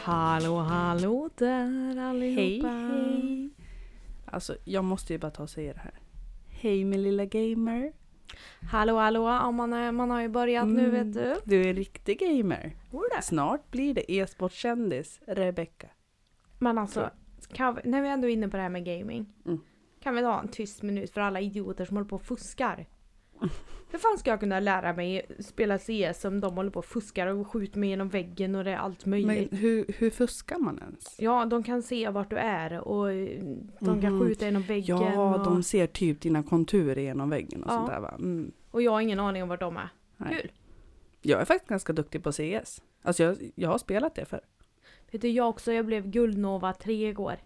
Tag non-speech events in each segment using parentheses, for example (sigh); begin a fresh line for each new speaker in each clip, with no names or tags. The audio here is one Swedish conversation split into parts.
Hallå hallå där allihopa.
Hej, hej. Alltså jag måste ju bara ta och säga det här. Hej min lilla gamer.
Hallå hallå, ja, man, är, man har ju börjat nu
Mm,
vet du.
Du är en riktig gamer.
Oda.
Snart blir det e-sportkändis Rebecca.
Men alltså, kan vi, när vi ändå är inne på det här med gaming.
Mm.
Kan vi ta en tyst minut för alla idioter som håller på och
(laughs)
fuskar? Hur fan ska jag kunna lära mig spela CS om de håller på och fuskar och skjuter mig genom väggen och det är allt möjligt?
Men hur, hur fuskar man ens?
Ja, de kan se vart du är och eh, de kan
Mhm.
skjuta genom väggen.
Ja,
och,
de ser typ dina konturer genom väggen och
Ja.
sånt där va? Mm.
och jag har ingen aning om vart de är.
Nej.
Kul!
Jag är faktiskt ganska duktig på CS. Alltså jag, jag har spelat det förr.
Vet du, jag också, jag blev guldnova tre igår.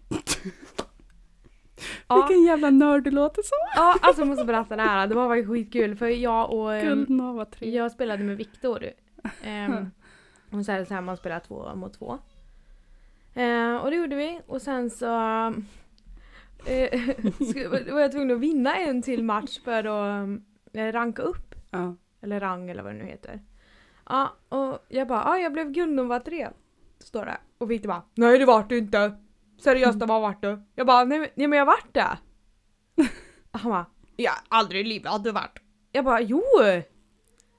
ja,
Vilken jävla nörd du låter som!
ja, alltså jag måste berätta det här. Det var faktiskt skitkul för jag och... ehm,
Guldnova 3.
Jag spelade med Viktor. Ehm, och så är det så här, man spelar två mot två. Ehm, och det gjorde vi och sen så... eh, (laughs) skulle- var jag tvungen att vinna en till match för att eh, ranka upp.
Ja.
Eller rang eller vad det nu heter. Ja, och jag bara, ja jag blev guldnummer tre. Står det. Och Viktor bara, nej det vart du inte. Seriöst, vad vart du? Jag bara, nej, men- nej men jag vart det. (laughs) Han bara, jag har aldrig i livet hade varit. Jag bara, jo!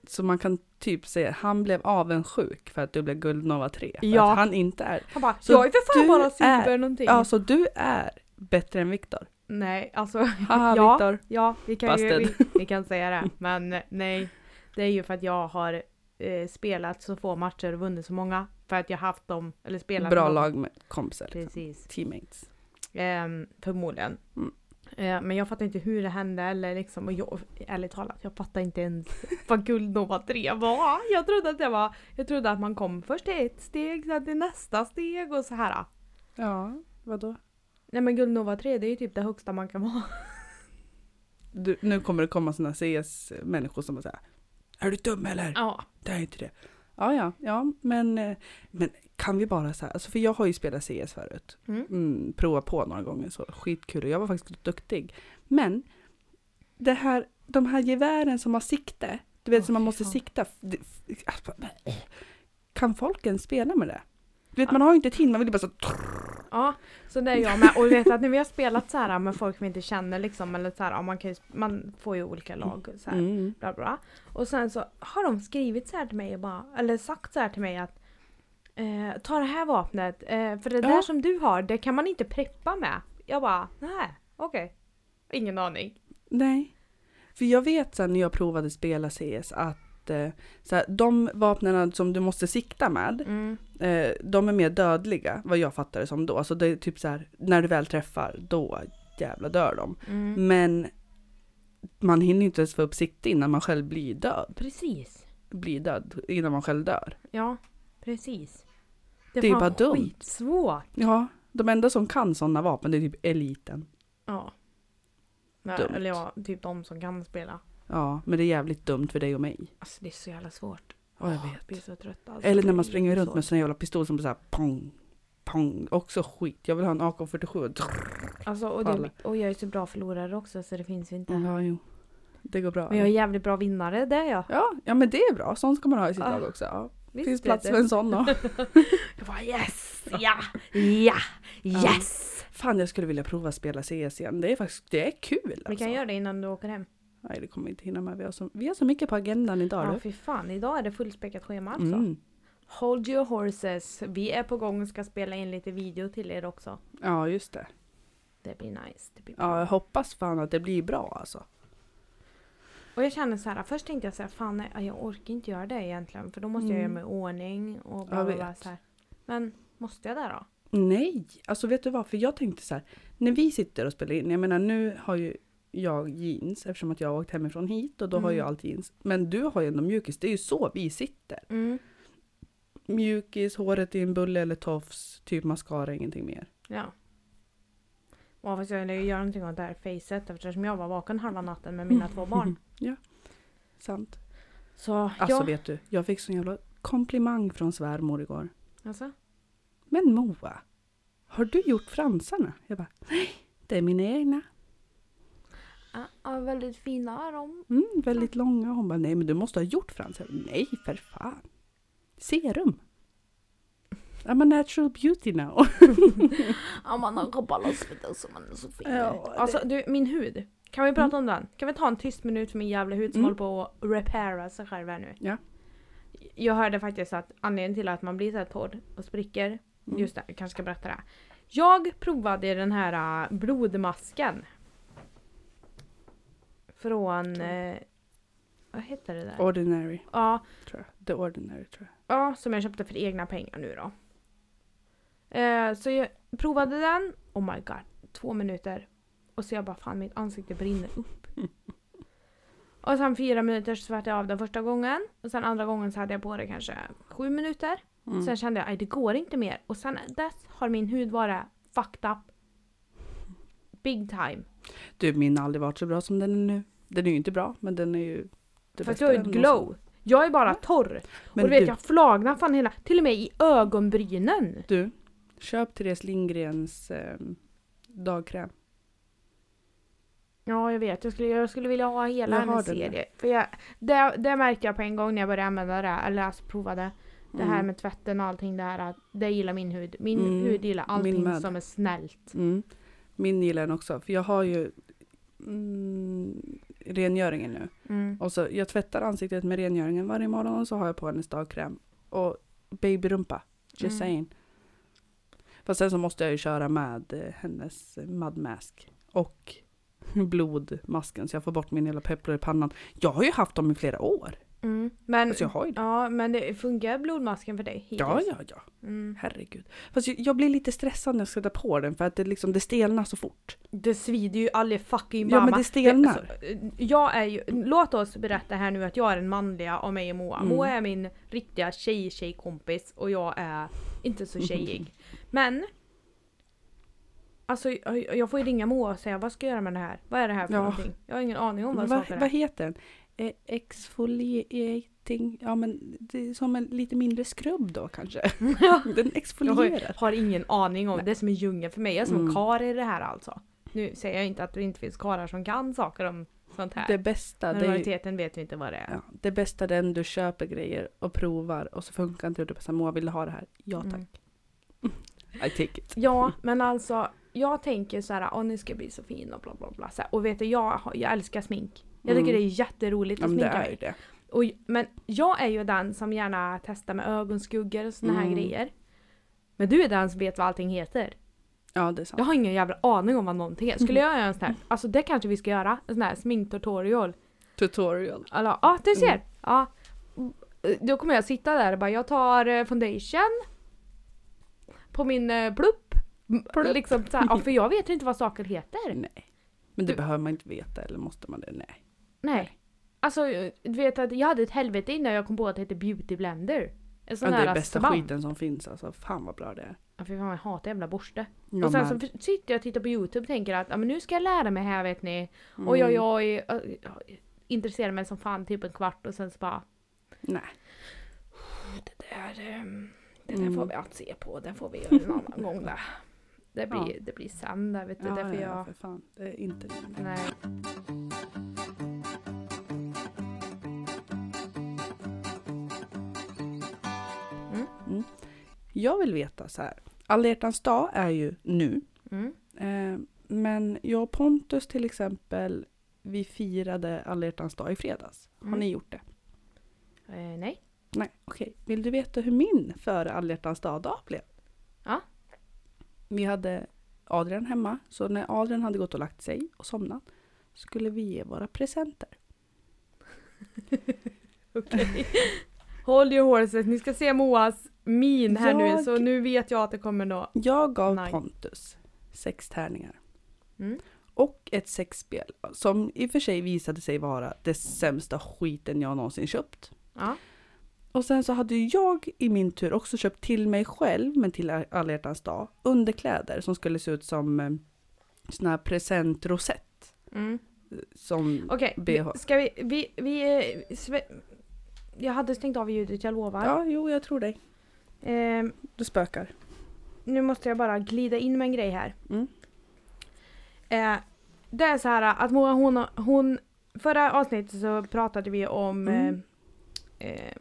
Så man kan typ säga han blev avundsjuk för att du blev guldnova 3. För
Ja.
att han inte är
Han bara,
Så
jag är för fan
du
bara
är-
silver någonting.
Ja, så du är bättre än Viktor.
Nej, alltså (laughs)
Haha,
Ja.
Viktor.
ja, vi kan ju vi,
Busted.
vi kan säga det. Men eh, nej, det är ju för att jag har eh, spelat så få matcher och vunnit så många. För att jag haft dem, eller spelat
Bra
med dem.
lag med kompisar. Liksom.
Precis.
Teammates.
Ehm, förmodligen.
Mm.
Eh, men jag fattar inte hur det hände eller liksom, och jag, ärligt talat, jag fattar inte ens vad guldnova 3 var. Jag trodde att det var, jag trodde att man kom först till ett steg, sen till nästa steg och så här.
Ja, vadå?
Nej men guldnova 3 det är ju typ det högsta man kan vara.
Du, nu kommer det komma sådana CS-människor som bara säger Är du dum eller?
Ja.
Det är inte det. Ja, ja, ja, men, eh, men kan vi bara så här, alltså för jag har ju spelat CS förut.
Mm.
Mm, prova på några gånger så, skitkul och jag var faktiskt duktig. Men det här, de här gevären som har sikte, du vet
Åh,
som man
fy
måste
fan.
sikta. det- alltså, men, eh, Kan folk ens spela med det? Du
Ah.
vet man har ju inte tid, man vill ju bara så
Ja, så det är jag med. Och vet att när vi har spelat så här med folk vi inte känner liksom, eller så här, ja, man, kan ju, man får ju olika lag och så här,
Mm.
bla bla. Och sen så har de skrivit så här till mig, och bara, eller sagt så här till mig att eh, ta det här vapnet, eh, för det
Ja.
där som du har, det kan man inte preppa med. Jag bara, nej, okej. Ingen aning.
Nej. För jag vet sen när jag provade spela CS att eh, så här, de vapnen som du måste sikta med,
Mm.
eh, de är mer dödliga vad jag fattar det som då. Alltså det är typ så här, när du väl träffar då jävla dör de.
Mm.
Men man hinner ju inte ens få upp sikte innan man själv blir död.
Precis.
Blir död innan man själv dör.
Ja, precis.
Det är
fan
bara dumt.
skitsvårt.
Ja, de enda som kan sådana vapen det är typ eliten.
Ja. Nej,
Dumt.
Eller ja, typ de som kan spela.
Ja, men det är jävligt dumt för dig och mig.
Alltså det är så jävla svårt. Ah,
Ja, jag
Jag blir
vet.
så trött alltså.
Eller
Det
när
är
man springer runt
jättesvårt.
med sån jävla pistol som bara såhär pong, pong. Också skit. Jag vill ha en AK47.
Alltså och,
Alla.
det, och jag är så bra förlorare också så det finns ju inte.
Ja, jo. Det går bra.
Men jag är jävligt bra vinnare, det är jag.
Ja, ja, men det är bra. Sånt ska man ha i sitt
Ah.
lag också. Ja.
Visst
Finns
vet
plats
du.
för en sån (laughs) då.
Jag bara yes! Ja! Ja!
Ja.
Yes!
Fan, jag skulle vilja prova att spela CS igen. Det är faktiskt, det är kul alltså.
Vi kan göra det innan du åker hem.
Nej, det kommer vi inte hinna med. Vi har så, vi har så mycket på agendan idag.
Ja
du.
fy fan, idag är det fullspäckat schema alltså.
Mm.
Hold your horses. Vi är på gång och ska spela in lite video till er också.
Ja, just det.
Det blir nice. Det blir bra.
Ja, jag hoppas fan att det blir bra alltså.
Och jag känner så här, först tänkte jag så här, fan nej, jag orkar inte göra det egentligen för då måste jag
Mm.
göra mig i ordning och
Jag
bla bla, bla
vet.
så här. Men måste jag det då?
Nej, alltså vet du vad? För jag tänkte så här, när vi sitter och spelar in, jag menar nu har ju jag jeans eftersom att jag har åkt hemifrån hit och då har
Mm.
jag allt jeans. Men du har ju ändå mjukis, det är ju så vi sitter.
Mm.
Mjukis, håret i en bulle eller tofs, typ mascara, ingenting mer.
Ja. Ja fast jag ville ju göra någonting åt det här facet eftersom jag var vaken halva natten med
(laughs)
mina två barn.
Mm. Sant.
Så
Alltså
ja.
vet du, jag fick sån jävla komplimang från svärmor igår.
Alltså,
Men Moa, har du gjort fransarna? Jag bara, nej, det är mina egna.
ja, ja, väldigt fina är de.
Mm, väldigt långa. Hon bara, nej men du måste ha gjort fransar. Jag bara, Nej, för fan. Serum. I'm a natural beauty now. (laughs)
Ja, man har kabbalasviten så man är så fin. Mm.
Ja,
Alltså du, min hud. Kan vi prata om den? Kan vi ta en tyst minut för min jävla hud som
Mm.
håller på att repaira sig själv här nu?
Ja.
Jag hörde faktiskt att anledningen till att man blir så här torr och spricker,
Mm.
just det, jag kanske ska berätta det. här. Jag provade den här äh, blodmasken. Från... Eh, vad heter det där?
Ordinary,
Ja,
tror jag. The Ordinary, tror jag.
Ja, som jag köpte för egna pengar nu då. Eh, så jag provade den, oh my god, två minuter. Och så jag bara fan mitt ansikte brinner upp. och sen fyra minuter så svärtade jag av den första gången. Och sen andra gången så hade jag på det kanske sju minuter.
Mm.
Sen kände jag att det går inte mer. Och sen dess har min hud varit fucked up. Big time.
Du, min har aldrig varit så bra som den är nu. Den är ju inte bra, men den är ju det
Fast
bästa
jag har ju
den
ett glow. Jag är bara
Ja.
torr.
någonsin. Men
och du vet
du,
jag flagnar fan hela, till och med i ögonbrynen.
du, köp Therese Lindgrens eh, dagkräm.
Ja, jag vet. Jag skulle, jag skulle vilja ha hela
Jag har
hennes
den där.
serie. För jag, det, det märkte jag på en gång när jag började använda det, här, eller alltså provade. Det här
Mm.
med tvätten och allting det här, att det gillar min hud. Min
Mm,
hud gillar allting
med.
som är snällt.
Mm. Min gillar den också, för jag har ju mm, rengöringen nu.
Mm.
Och så, jag tvättar ansiktet med rengöringen varje morgon och så har jag på hennes dagkräm. Och babyrumpa, just
Mm.
saying. Fast sen så måste jag ju köra med eh, hennes mud mask och (laughs) blodmasken så jag får bort min hela pepplor i pannan. Jag har ju haft dem i flera år.
Mm. Men,
Alltså jag har ju det.
ja, men det funkar blodmasken för dig hittills?
Ja, ja, ja.
Mm.
Herregud. Fast jag, jag blir lite stressad när jag ska ta på den för att det, liksom, det stelnar så fort.
Det svider ju aldrig fucking
Ja,
mamma.
men det stelnar.
alltså, eh, jag är ju, låt oss berätta här nu att jag är den manliga av mig och Moa.
Mm.
Moa är min riktiga tjej-tjejkompis och jag är inte så
(laughs)
tjejig. Men Alltså jag jag får ju ringa Moa och säga vad ska jag göra med det här? Vad är det här för
Ja.
någonting? Jag har ingen aning om vad
Vad,
saker är.
vad heter den? Eh, exfoliating. Ja men det är som en lite mindre skrubb
(laughs)
då kanske. den
Jag
exfolierar.
har, har ingen aning om. Det är som en djungel för mig. Jag är som en
Mm.
karl i det här alltså. Nu säger jag inte att det inte finns karlar som kan saker om sånt här.
Det bästa,
men
det
i
är, ju-
majoriteten vet vi inte vad det är.
ja, det bästa är den du köper grejer och provar och så funkar inte det. Du bara så här, Moa vill du ha det här? Ja tack. (laughs)
Mm.
I take it.
Ja, men alltså jag tänker så här, åh ni ska bli så fin och bla bla bla. Så här, och vet du, jag, har- jag älskar smink. Jag tycker
Mm.
det är jätteroligt
Ja,
att
men det
sminka
är ju
mig.
det.
Och, men jag är ju den som gärna testar med ögonskuggor och såna här
Mm.
grejer. Men du är den som vet vad allting heter.
Ja det är sant.
Jag har ingen jävla aning om vad någonting är.
(laughs)
Skulle jag göra en sån här, alltså det kanske vi ska göra, en sån här sminktutorial.
Tutorial.
Alla, ja ah, du ser!
Mm.
Ja. Då kommer jag sitta där och bara, jag tar eh, foundation på min eh, plupp.
Mm, Plupp. Mm.
Liksom så här, ja, för jag vet inte vad saker heter.
Nej. Men det
Du-
behöver man inte veta eller måste man det? Nej.
Nej. Alltså, eh, du vet att jag hade ett helvete innan jag kom på att det heter beauty blender. En
Ja,
sån
det
här
är bästa
svamp.
skiten som finns alltså. Fan vad bra det är.
Ja, fy fan, jag hatar jävla borste.
Ja,
och sen så
men-
f- sitter jag och tittar på Youtube och tänker att ja, men nu ska jag lära mig här vet ni.
Mm.
Oj oj oj. ö, ö, Intresserar mig som fan typ en kvart och sen så bara
Mm. Nej.
det där, ehm, det där
Mm.
får vi att se på, det får vi göra en annan gång där. Det blir,
Ja.
det blir sen där vet du,
Ja,
därför
ja, ja,
jag...
för fan. Det är inte det.
Nej.
Jag vill veta så här. Alla hjärtans dag är ju nu.
Mm.
Eh, men jag och Pontus till exempel, vi firade alla hjärtans dag i fredags. Har
Mm.
ni gjort det?
Eh, nej.
Nej, okej. Vill du veta hur min före alla hjärtans dag-dag blev?
Ja.
Vi hade Adrian hemma, så när Adrian hade gått och lagt sig och somnat skulle vi ge våra presenter.
Okej. Håll your horses, ni ska se Moas min här nu
Jag-
så nu vet jag att det kommer nå.
Jag gav
Nej.
Pontus sex tärningar.
Mm.
Och ett sexspel som i och för sig visade sig vara det sämsta skiten jag någonsin köpt.
Ja.
Och sen så hade ju jag i min tur också köpt till mig själv, men till alla hjärtans dag, underkläder som skulle se ut som eh, sån här presentrosett.
Mm.
Som,
Okej,
BH.
vi- ska vi... vi, vi eh, sve- jag hade stängt av ljudet, jag lovar.
ja, jo, jag tror dig.
Ehm,
Du spökar.
nu måste jag bara glida in med en grej här.
Mm.
Eh, det är så här att Moa hon, hon... Förra avsnittet så pratade vi om
Mm.
eh, eh,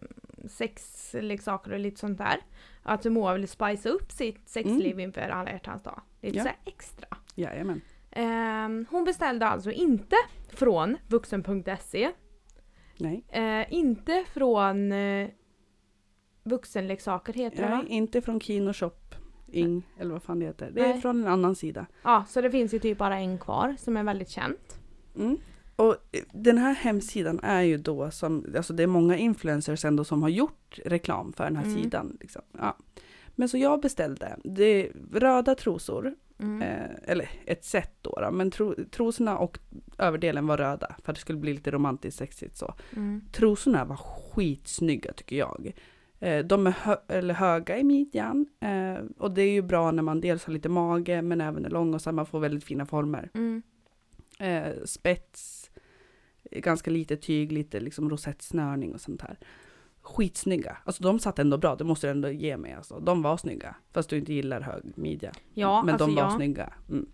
sexleksaker och lite sånt där. Att Moa vill spicea upp sitt sexliv
Mm.
inför alla hjärtans dag. Lite
Ja.
så här extra.
Jajamän.
Ehm, hon beställde alltså inte från vuxen.se.
Nej.
Eh, inte från eh, vuxenleksaker heter det va?
Nej, inte från Kino Shop. Ing, eller vad fan det heter. Det är
Nej.
från en annan sida.
Ja, så det finns ju typ bara en kvar som är väldigt känt.
Mm. Och eh, den här hemsidan är ju då som, alltså det är många influencers ändå som har gjort reklam för den här
Mm.
sidan. Liksom. Ja. Men så jag beställde, det är röda trosor,
Mm.
eh, eller ett set då, då men tro, trosorna och överdelen var röda för att det skulle bli lite romantiskt sexigt så.
Mm.
Trosorna var skitsnygga tycker jag. Eh, De är hö- eller höga i midjan eh, och det är ju bra när man dels har lite mage men även är lång och så här, man får väldigt fina former.
Mm.
Eh, Spets, eh, ganska lite tyg, lite liksom rosettsnörning och sånt här. Skitsnygga. Alltså de satt ändå bra, det måste du ändå ge mig. Alltså. De var snygga, fast du inte gillar hög midja.
Ja,
Men
alltså
de var
ja.
snygga. Mm.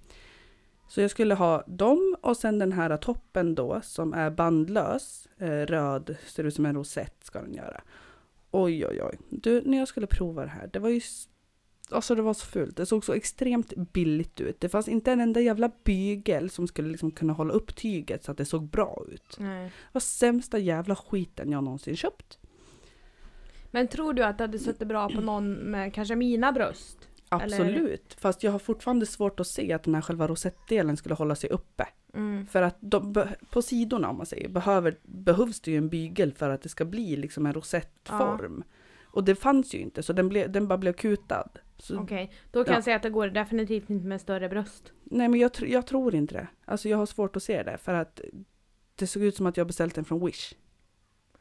Så jag skulle ha dem och sen den här toppen då som är bandlös, eh, röd, ser ut som en rosett ska den göra. Oj oj oj. Du, när jag skulle prova det här, det var ju s- Alltså det var så fult. Det såg så extremt billigt ut. Det fanns inte en enda jävla bygel som skulle liksom kunna hålla upp tyget så att det såg bra ut.
Nej.
Det var sämsta jävla skiten jag någonsin köpt.
Men tror du att det hade suttit bra på någon med kanske mina bröst?
Absolut. Fast jag har fortfarande svårt att se att den här själva rosettdelen skulle hålla sig uppe.
Mm.
För att de, be- på sidorna om man säger, behöver, behövs det ju en bygel för att det ska bli liksom en rosettform. Och det fanns ju inte så den, ble, den bara blev kutad. Så,
Okej, då kan
Ja.
jag säga att det går definitivt inte med större bröst.
Nej men jag, tr- jag tror inte det. Alltså jag har svårt att se det för att det såg ut som att jag beställt den från Wish.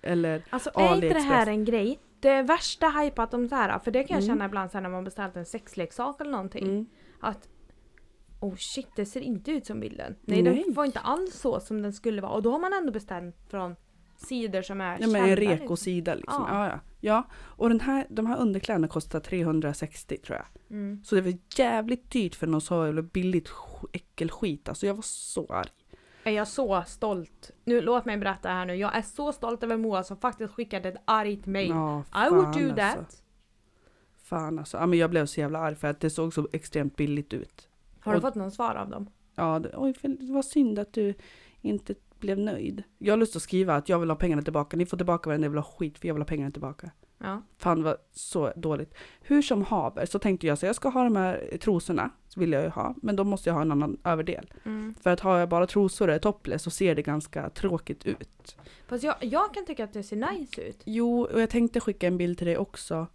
Eller
Alltså
Ja,
är inte det
AliExpress.
här en grej? Det är värsta hypat om det här, för det kan jag
Mm.
känna ibland så här när man beställt en sexleksak eller någonting.
mm,
Att oh shit, det ser inte ut som bilden. Nej, den
Nej.
var inte alls så som den skulle vara. Och då har man ändå beställt från sidor som är
nej, men en
kända,
rekosida liksom.
Ja.
Ja. Ja, ja. och den här, de här underkläderna kostar 360 tror jag.
liksom. Mm.
Så det var jävligt dyrt för någon så jävla billigt sk- äckelskit. Alltså jag var så arg.
Är jag så stolt? Nu låt mig berätta här nu. Jag är så stolt över Moa som faktiskt skickade ett argt mail.
Ja,
I would do
fan,
that.
alltså. Fan alltså, ja, men jag blev så jävla arg för att det såg så extremt billigt ut.
Har du
Och-
fått någon svar av dem?
Ja, det, oj, för- det var synd att du inte blev nöjd. Jag har lust att skriva att jag vill ha pengarna tillbaka, ni får tillbaka varenda jävla skit för jag vill ha pengarna tillbaka.
Ja.
Fan vad så dåligt. Hur som haver så tänkte jag så jag ska ha de här trosorna, så vill jag ju ha, men då måste jag ha en annan överdel.
Mm.
För att har jag bara trosor och är topless så ser det ganska tråkigt ut.
Fast jag, jag kan tycka att det ser nice ut.
Jo, och jag tänkte skicka en bild till dig också.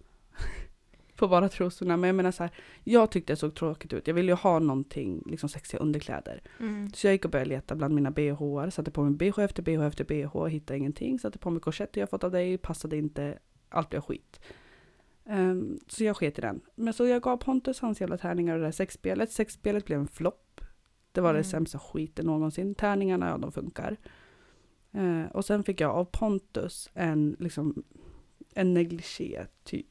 (laughs) På bara trosorna. Men jag menar så här, jag tyckte det såg tråkigt ut. Jag ville ju ha någonting, liksom sexiga underkläder.
Mm.
Så jag gick och började leta bland mina bhar. Satte på mig bh efter bh efter bh. Hittade ingenting. Satte på mig korsetter jag fått av dig. Passade inte. Allt blev skit. Ehm, så jag sket i den. Men så jag gav Pontus hans jävla tärningar och det där sexspelet. Sexspelet blev en flopp. Det var
Mm.
det sämsta skiten någonsin. Tärningarna, ja de funkar. Eh, och sen fick jag av Pontus en, liksom, en negligé typ.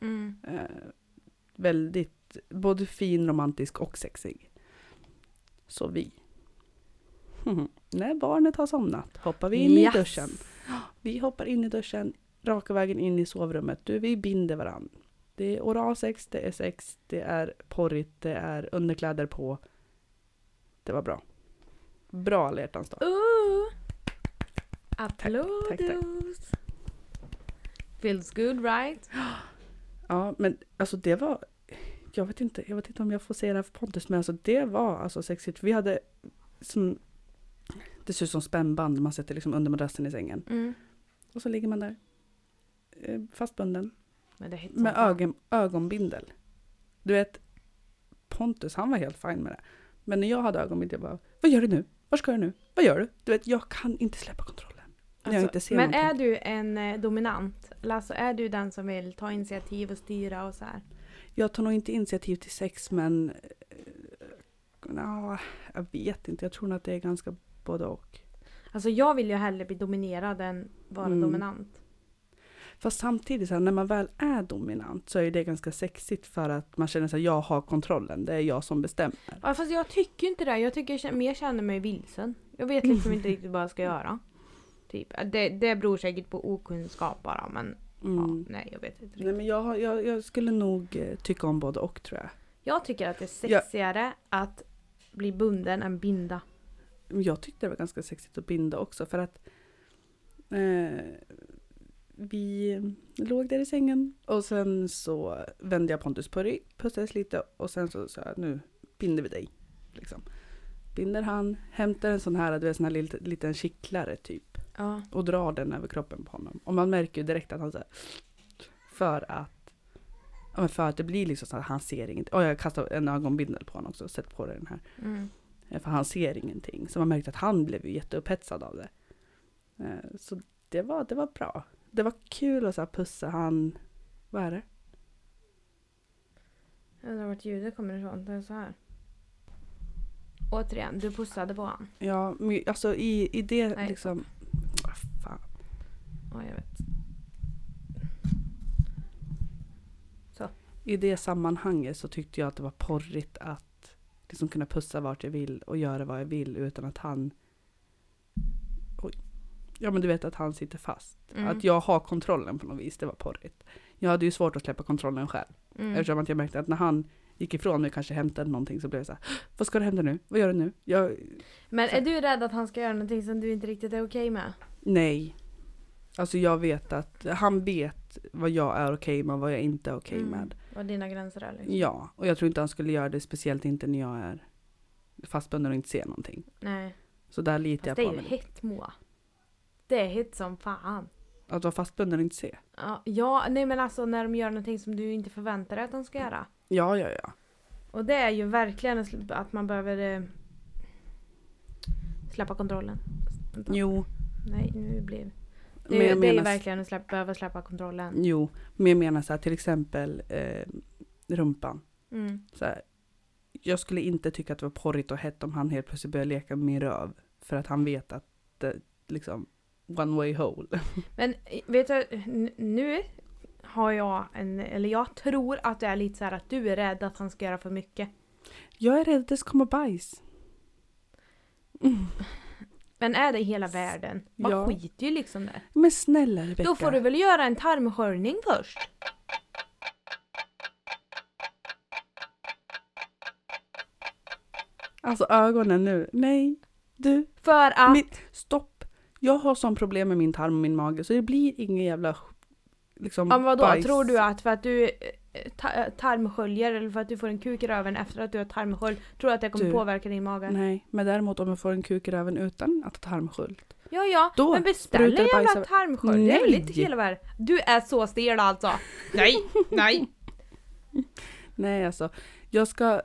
Mm.
Eh, väldigt, både fin, romantisk och sexig. Så vi. Mhm. När barnet har somnat hoppar vi in
Yes.
i duschen. Vi hoppar in i duschen, raka vägen in i sovrummet. Du, vi binder varann. Det är oralsex, det är sex, det är porrigt, det är underkläder på. Det var bra. Bra alla hjärtans dag.
Ooh.
tack.
Applådos! Feels good right?
Ja, men alltså det var... Jag vet inte, jag vet inte om jag får säga det här för Pontus, men alltså det var alltså sexigt. Vi hade som... Det ser ut som spännband man sätter liksom under madrassen i sängen.
Mm.
Och så ligger man där. eh, Fastbunden.
Men det är hett som
Med
fan.
ögon, ögonbindel. Du vet, Pontus han var helt fin med det. Men när jag hade ögonbindel, jag bara, vad gör du nu? Var ska du nu? Vad gör du? Du vet, jag kan inte släppa kontrollen. När jag
Alltså,
inte ser
men
någonting.
är du en eh, dominant? Eller Alltså är du den som vill ta initiativ och styra och så här?
Jag tar nog inte initiativ till sex men eh, nja, jag vet inte. Jag tror nog att det är ganska både och.
Alltså jag vill ju hellre bli dominerad än vara
Mm.
dominant.
Fast samtidigt så här, när man väl är dominant så är ju det ganska sexigt för att man känner sig jag har kontrollen. Det är jag som bestämmer.
Ja, fast jag tycker inte det. Jag tycker jag känner- mer känner mig vilsen. Jag vet liksom inte riktigt vad jag ska göra. Typ. Det, det beror säkert på okunskap bara men
Mm.
Ja, nej, jag vet inte
Nej
riktigt.
men jag, har- jag, jag skulle nog eh, tycka om både och tror jag.
Jag tycker att det är
Ja.
sexigare att bli bunden än binda.
Jag tyckte det var ganska sexigt att binda också för att eh, vi låg där i sängen och sen så vände jag Pontus på rygg, pussades lite och sen så sa jag nu binder vi dig. Liksom. Binder han, hämtar en sån här, du vet sån här liten, liten kittlare typ
Ja.
och drar den över kroppen på honom. Och man märker ju direkt att han så här, för att ja, men för att det blir liksom så att han ser ingenting. Och jag kastar en ögonbindel på honom också, sätt på dig den här.
Mm.
Eh, För han ser ingenting. Så man märkte att han blev ju jätteupphetsad av det. Eh, Så det var, det var bra. Det var kul att så här pussa han. Vad är det?
Jag undrar vart ljudet kommer ifrån. Det är så här. Återigen, du pussade på han.
Ja, men alltså i, i det
Nej,
liksom. Ah, Fan.
Ja, jag vet.
I det sammanhanget så tyckte jag att det var porrigt att liksom kunna pussa vart jag vill och göra vad jag vill utan att han... Oj. Ja men du vet att han sitter fast.
Mm.
Att jag har kontrollen på något vis, det var porrigt. Jag hade ju svårt att släppa kontrollen själv.
Mm.
Eftersom att jag märkte att när han gick ifrån mig och kanske hämtade någonting så blev jag så här, vad ska du hämta nu? Vad gör du nu? Jag,
Men är du rädd att han ska göra någonting som du inte riktigt är okej med?
nej. Alltså jag vet att han vet vad jag är okej med och vad jag inte är okej
Mm.
med.
Vad dina gränser är liksom?
Ja, och jag tror inte han skulle göra det, speciellt inte när jag är fastbunden och inte ser någonting.
Nej.
Så där litar
Fast
jag
det
på
är ju
mig.
hett Moa. Det är hett som fan.
Att vara fastbunden och inte se.
Ja, Ja, nej men alltså när de gör någonting som du inte förväntar dig att de ska göra.
Ja, ja, ja.
Och det är ju verkligen en sl- att man behöver eh, släppa kontrollen. Vänta.
Jo,
Nej, nu blir det.
men
är
jag
ju- Det är ju
menar...
verkligen att släppa, behöva släppa kontrollen.
Jo, men jag menar så här, till exempel eh, rumpan.
Mm.
så här, jag skulle inte tycka att det var porrigt och hett om han helt plötsligt började leka med min röv. För att han vet att det liksom one way hole.
Men eh, vet du, n- nu har jag en, eller jag tror att det är lite så här att du är rädd att han ska göra för mycket.
Jag är rädd att det ska komma bajs. Mm.
Men är det hela världen? Man
Ja.
skiter ju liksom där.
Men snälla Rebecka.
Då får du väl göra en tarmsköljning först?
Alltså ögonen nu. Nej. Du.
För att...
Min- Stopp. Jag har sån problem med min tarm och min mage så det blir ingen jävla liksom
Ja, men vadå,
bajs.
tror du att för att du eh, ta- tarmsköljer eller för att du får en kuk i röven efter att du har tarmskölj, tror du att det kommer
Du.
påverka din mage?
Nej, men däremot om jag får en kuk i röven utan att ha tarmsköld.
Ja, ja,
Då
men beställ
sprutar
en
det bajs
jävla
över-
tarmskölj. Det är väl
Nej.
inte hela världen. Du är så stel alltså. Nej, nej.
Nej, alltså. Jag ska...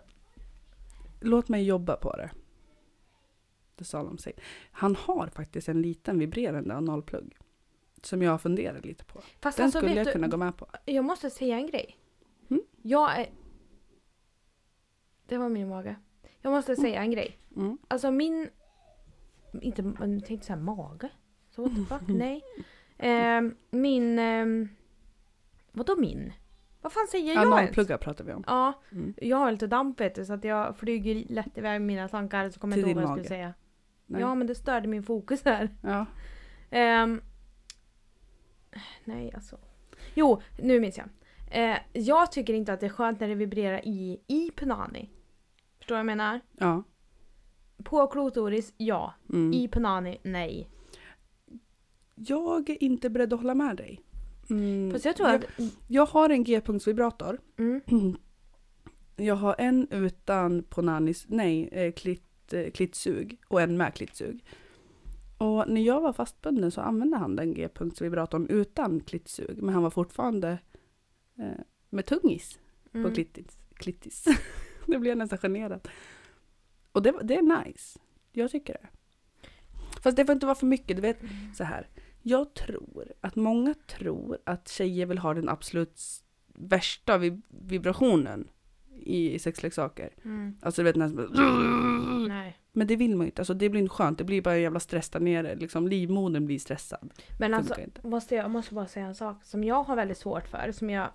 Låt mig jobba på det. Det sa de sig. Han har faktiskt en liten vibrerande analplugg. Som jag funderar lite på.
Fast
Den
alltså
skulle jag
vet
kunna
du,
gå med på.
jag måste säga en grej.
Mm.
Jag är... Det var min mage. Jag måste säga en grej.
Mm.
Alltså min... Inte, jag tänkte säga mage. Så what the fuck,
(laughs)
nej. Ehm, min... ehm, vadå min? Vad fan säger jag ens?
Analpluggar pratar vi om.
Ja,
Mm.
jag har lite damp vet du, så att jag flyger lätt iväg med mina tankar så kommer jag
Till
inte ihåg
din
vad jag skulle
mage.
säga.
Nej.
Ja men det störde min fokus här.
Ja.
Ehm, nej alltså. Jo, nu minns jag. Eh, jag tycker inte att det är skönt när det vibrerar i, i punani. Förstår vad jag menar?
ja.
På klotoris, ja.
Mm.
I punani, nej.
Jag är inte beredd att hålla med dig. Mm.
Fast jag tror
jag,
att...
jag har en g-punktsvibrator.
Mm,
(clears throat) Jag har en utan på Nannis, nej, eh, klitt, eh, klittsug och en med klittsug. Och när jag var fastbunden så använde han den g-punktsvibratorn utan klittsug, men han var fortfarande eh, med tungis
mm.
på klittis. klittis. (laughs) det blev jag nästan generad. Och det, var- det är nice. Jag tycker det. Fast det får inte vara för mycket, du vet
Mm.
så här. Jag tror att många tror att tjejer vill ha den absolut s- värsta vib- vibrationen i sexleksaker.
Mm,
Alltså du vet nästan
nej.
Men det vill man ju inte, alltså det blir inte skönt, det blir bara en jävla stress där nere, liksom livmodern blir stressad.
Men alltså,
Funkar inte.
måste jag, jag måste bara säga en sak som jag har väldigt svårt för, som jag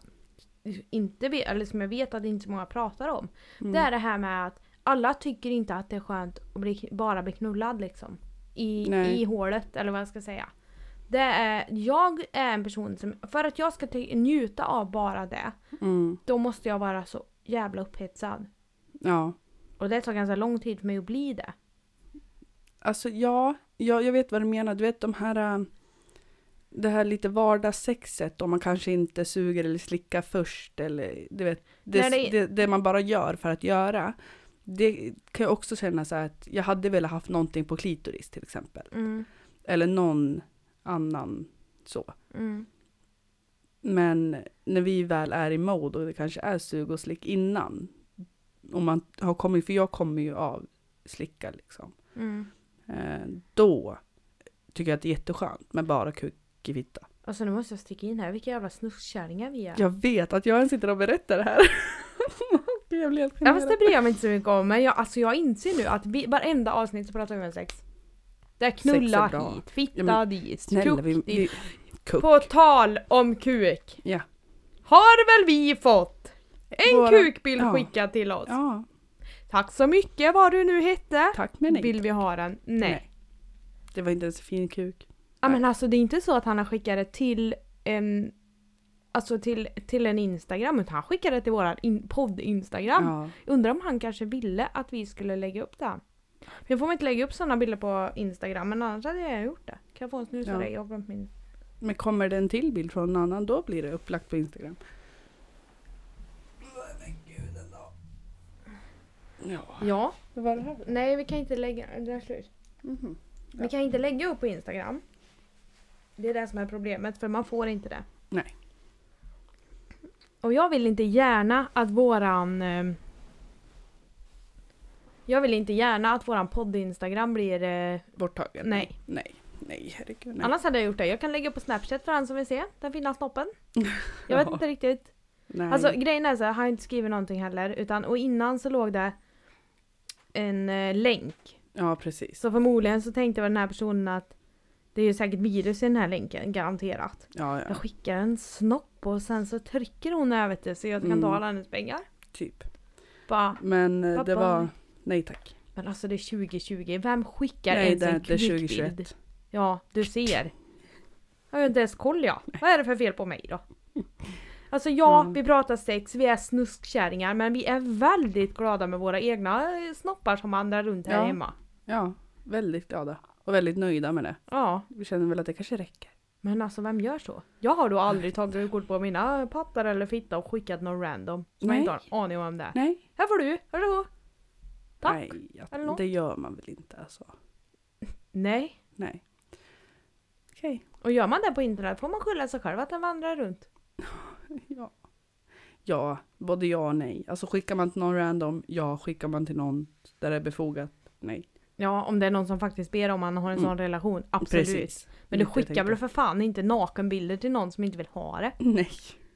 inte vet, eller som jag vet att inte så många pratar om.
Mm.
Det är det här med att alla tycker inte att det är skönt att bli, bara bli knullad liksom. I,
Nej.
I hålet eller vad jag ska säga. Det är, jag är en person som, för att jag ska ty- njuta av bara det,
Mm.
då måste jag vara så jävla upphetsad.
Ja.
Och det tar ganska lång tid för mig att bli det.
Alltså ja, jag, jag vet vad du menar. Du vet de här, äh, det här lite vardagssexet om man kanske inte suger eller slickar först eller du vet, det,
Nej,
det, det man bara gör för att göra. Det kan jag också känna så här att jag hade velat haft någonting på klitoris till exempel.
Mm,
Eller någon annan så.
mm,
Men när vi väl är i mode och det kanske är sug och slick innan. Om man har kommit, för jag kommer ju av slicka liksom.
mm.
Eh, då tycker jag att det är jätteskönt med bara kuk i fitta.
Alltså nu måste jag sticka in här, vilka jävla snuskkärringar vi är.
Jag vet att jag ens sitter och berättar det här. (laughs) Gud, jag blir helt
Ja fast det
generad.
bryr jag mig inte så mycket om men jag, alltså jag inser nu att vi, varenda avsnitt så pratar vi om sex. Det är knulla
Sex är bra.
hit, fitta
Ja, men
dit,
Snälla,
kuk
vi,
dit.
vi, kuk.
På tal om kuk.
Ja.
Har väl vi fått en
Våra-
kukbild
ja.
skickad till oss.
Ja,
Tack så mycket vad du nu hette.
tack men nej.
Vill vi ha den? Nej.
Nej. Det var inte ens en fin kuk.
Ja men alltså det är inte så att han har skickat det till en Alltså till, till en Instagram, utan han skickade det till våran in, podd-Instagram.
Ja.
Undrar om han kanske ville att vi skulle lägga upp det. Nu får man inte lägga upp sådana bilder på Instagram men annars hade jag gjort det. Kan jag få en snus av
Ja.
dig? Jag har glömt min.
Men kommer det en till bild från någon annan då blir det upplagt på Instagram. Men gud ändå. Ja.
Ja.
Vad var det här?
Nej vi kan inte lägga... Det är slut.
Mhm.
Vi kan inte lägga upp på Instagram. Det är det som är problemet för man får inte det.
Nej.
Och jag vill inte gärna att våran... ehm, Jag vill inte gärna att våran podd-instagram blir... eh,
Borttagen?
Nej.
Nej, nej herregud. Nej.
Annars hade jag gjort det. Jag kan lägga upp på Snapchat för han som vill se den fina snoppen. Jag vet
Ja.
inte riktigt
nej.
Alltså grejen är så här, han har inte skrivit någonting heller utan och innan så låg det en eh, länk.
ja, precis.
Så förmodligen så tänkte väl den här personen att det är ju säkert virus i den här länken, garanterat.
Ja,
Jag
ja.
skickar en snopp och sen så trycker hon över det så jag kan
Mm.
ta alla hennes pengar.
Typ.
Bara,
Men eh,
Pappa.
det var... Nej tack.
men alltså det är 2020, vem skickar
nej,
ens
det är
en
inte
kukbild?
2021.
Ja, du ser. Jag har ju inte ens koll jag. Vad är det för fel på mig då? Alltså ja,
Ja.
vi pratar sex, vi är snuskkärringar men vi är väldigt glada med våra egna eh, snoppar som vandrar runt här
Ja.
hemma.
Ja, väldigt glada. Och väldigt nöjda med det.
Ja,
Vi känner väl att det kanske räcker.
men alltså vem gör så? Jag har då aldrig tagit kort på mina pattar eller fitta och skickat någon random. Som jag
Nej.
inte har en aning om det är.
Nej.
Här får du, varsågod! Tack! Nej.
Nej, jag-
Eller något.
det gör man väl inte alltså.
Nej.
Nej. Okej. (laughs)
Och gör man det på internet får man skylla sig själv att den vandrar runt.
Ja. ja, både ja och nej. Alltså skickar man till någon random, ja. Skickar man till någon där det är befogat, nej.
Ja, om det är någon som faktiskt ber om man har en sån
Mm.
relation, absolut. Men du
Lite jag
skickar väl
tänkte.
för fan inte nakenbilder till någon som inte vill ha det?
(laughs) Nej.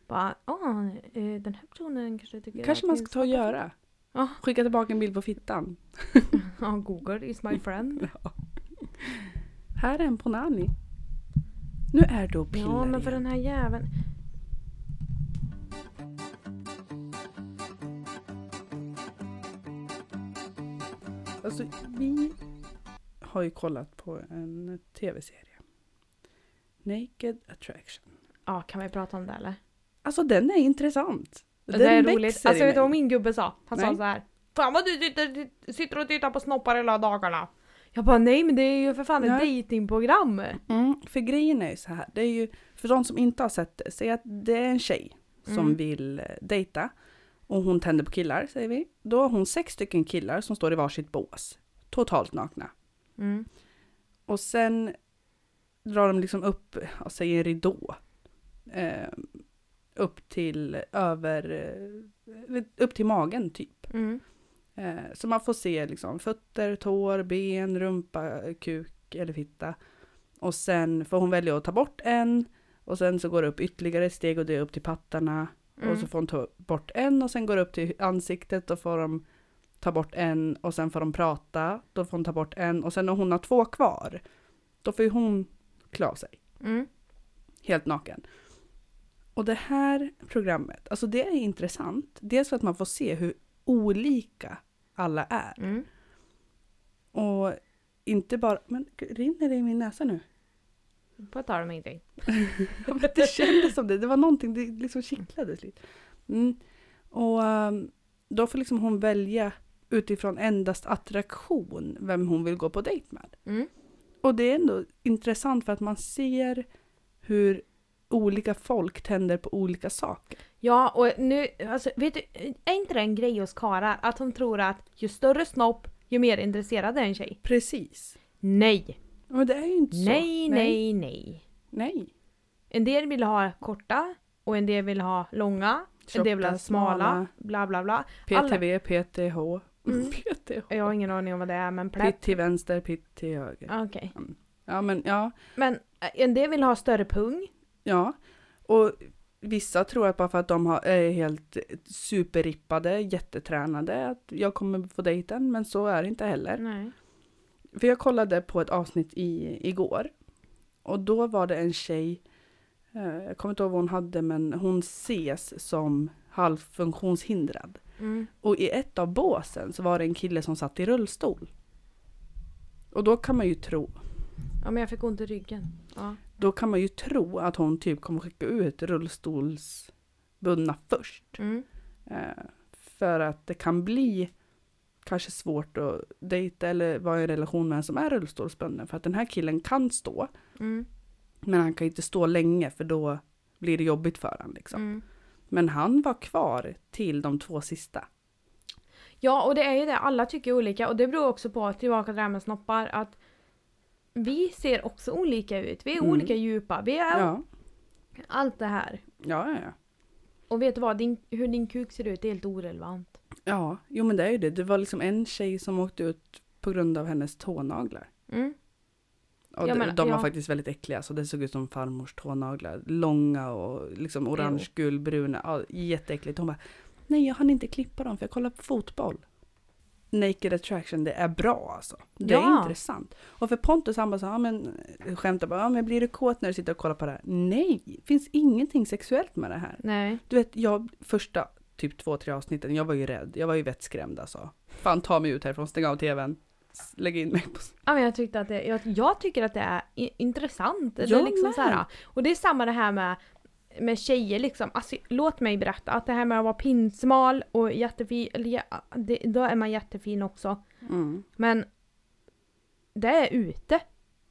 Bara, åh, eh, den här personen kanske tycker
kanske
att
man
det är
ska ta och göra.
Ja.
Skicka tillbaka en bild på fittan.
så- Ja, Google is my
(laughs)
friend.
Här är en Ponani. Nu är du och pillar
ja, men för
igen.
den här jäveln.
Alltså, vi har ju kollat på en tv-serie. Naked Attraction.
Ja, kan vi prata om det eller?
Alltså den är intressant. Den
det är roligt.
växer
Alltså
i
vet du vad
mig.
min gubbe sa? Han sa
Nej.
så här. Fan vad du sitter, sitter och tittar på snoppar hela dagarna. Jag bara nej men det är ju för fan ett
Nej.
dejtingprogram.
Mm, för grejen är ju så här, det är ju, för de som inte har sett det, säg att det är en tjej som
Mm.
vill eh, dejta och hon tänder på killar, säger vi. Då har hon sex stycken killar som står i varsitt bås, totalt nakna.
Mm.
Och sen drar de liksom upp, ja, säg en ridå, eh, upp till över, eh, upp till magen typ.
Mm.
Eh, så man får se liksom fötter, tår, ben, rumpa, kuk eller fitta. Och sen får hon välja att ta bort en och sen så går det upp ytterligare ett steg och det är upp till pattarna.
Mm.
Och så får hon ta bort en och sen går det upp till ansiktet och får de ta bort en och sen får de prata. Då får hon ta bort en och sen när hon har två kvar då får ju hon klä av sig
Mm.
helt naken. Och det här programmet, alltså det är intressant. Dels för att man får se hur olika alla är.
Mm.
Och inte bara, men gud, rinner det i min näsa nu?
På tal om ingenting.
(laughs) Ja, men det kändes som det. Det var någonting, det liksom kittlades lite. Mm. Och ehm, då får liksom hon välja utifrån endast attraktion vem hon vill gå på dejt med.
Mm.
Och det är ändå intressant för att man ser hur olika folk tänder på olika saker.
Ja, och nu, alltså, vet du, är inte det en grej hos karlar? Att de tror att ju större snopp, ju mer intresserad är en tjej.
Precis.
Nej!
Men det är ju inte så.
Nej, nej, nej.
Nej.
En del vill ha korta, och en del vill ha långa, en del vill ha
Tjocka,
smala, bla bla bla.
PTV, PTH.
Mm.
PTH.
Jag har ingen aning om vad det är, men plätt.
Pitt till vänster, pitt till höger.
Okej.
Ja men ja.
Men eh, en del vill ha större pung.
Ja, och vissa tror att bara för att de har, är helt superrippade, jättetränade, att jag kommer få dejten, men så är det inte heller.
Nej.
För jag kollade på ett avsnitt i, igår och då var det en tjej, eh, jag kommer inte ihåg vad hon hade, men hon ses som halvfunktionshindrad.
Mm.
Och i ett av båsen så var det en kille som satt i rullstol. Och då kan man ju tro,
Ja, men jag fick ont i ryggen. Ja.
då kan man ju tro att hon typ kommer skicka ut rullstolsbundna först.
Mm.
Eh, För att det kan bli kanske svårt att dejta eller vara i en relation med en som är rullstolsbunden. För att den här killen kan stå,
Mm.
men han kan inte stå länge för då blir det jobbigt för honom. Liksom.
Mm.
Men han var kvar till de två sista.
Ja, och det är ju det. Alla tycker olika och det beror också på, tillbaka till det här med snoppar, att vi ser också olika ut. Vi är
Mm.
olika djupa. Vi är
Ja,
allt det här.
ja, ja. ja.
Och vet du vad? Din, hur din kuk ser ut är helt orelevant.
Ja, jo men det är ju det. Det var liksom en tjej som åkte ut på grund av hennes tånaglar.
Mm.
Och
Ja,
de-
men-
de var
ja.
faktiskt väldigt äckliga, så det såg ut som farmors tånaglar. Långa och liksom orange, gulbruna. Ja, jätteäckligt. Hon bara, nej jag hann inte klippa dem för jag kollar på fotboll. Naked attraction, det är bra alltså. Det är
Ja.
intressant. Och för Pontus han bara så, ja men skämtar bara, ja men blir du kåt när du sitter och kollar på det här? Nej, det finns ingenting sexuellt med det här.
Nej.
Du vet, jag första typ två, tre avsnitten, jag var ju rädd. Jag var ju vettskrämd alltså. Fan ta mig ut härifrån, stäng av tvn. s- Lägg in mig på...
Ja, men jag, tyckte att det, jag, jag tycker att det är i, intressant. det är
Jag
liksom så här,
med.
och det är samma det här med, med tjejer liksom. Alltså, låt mig berätta att det här med att vara pinsmal och jättefin, eller, ja, det, då är man jättefin också.
Mm.
Men det är ute.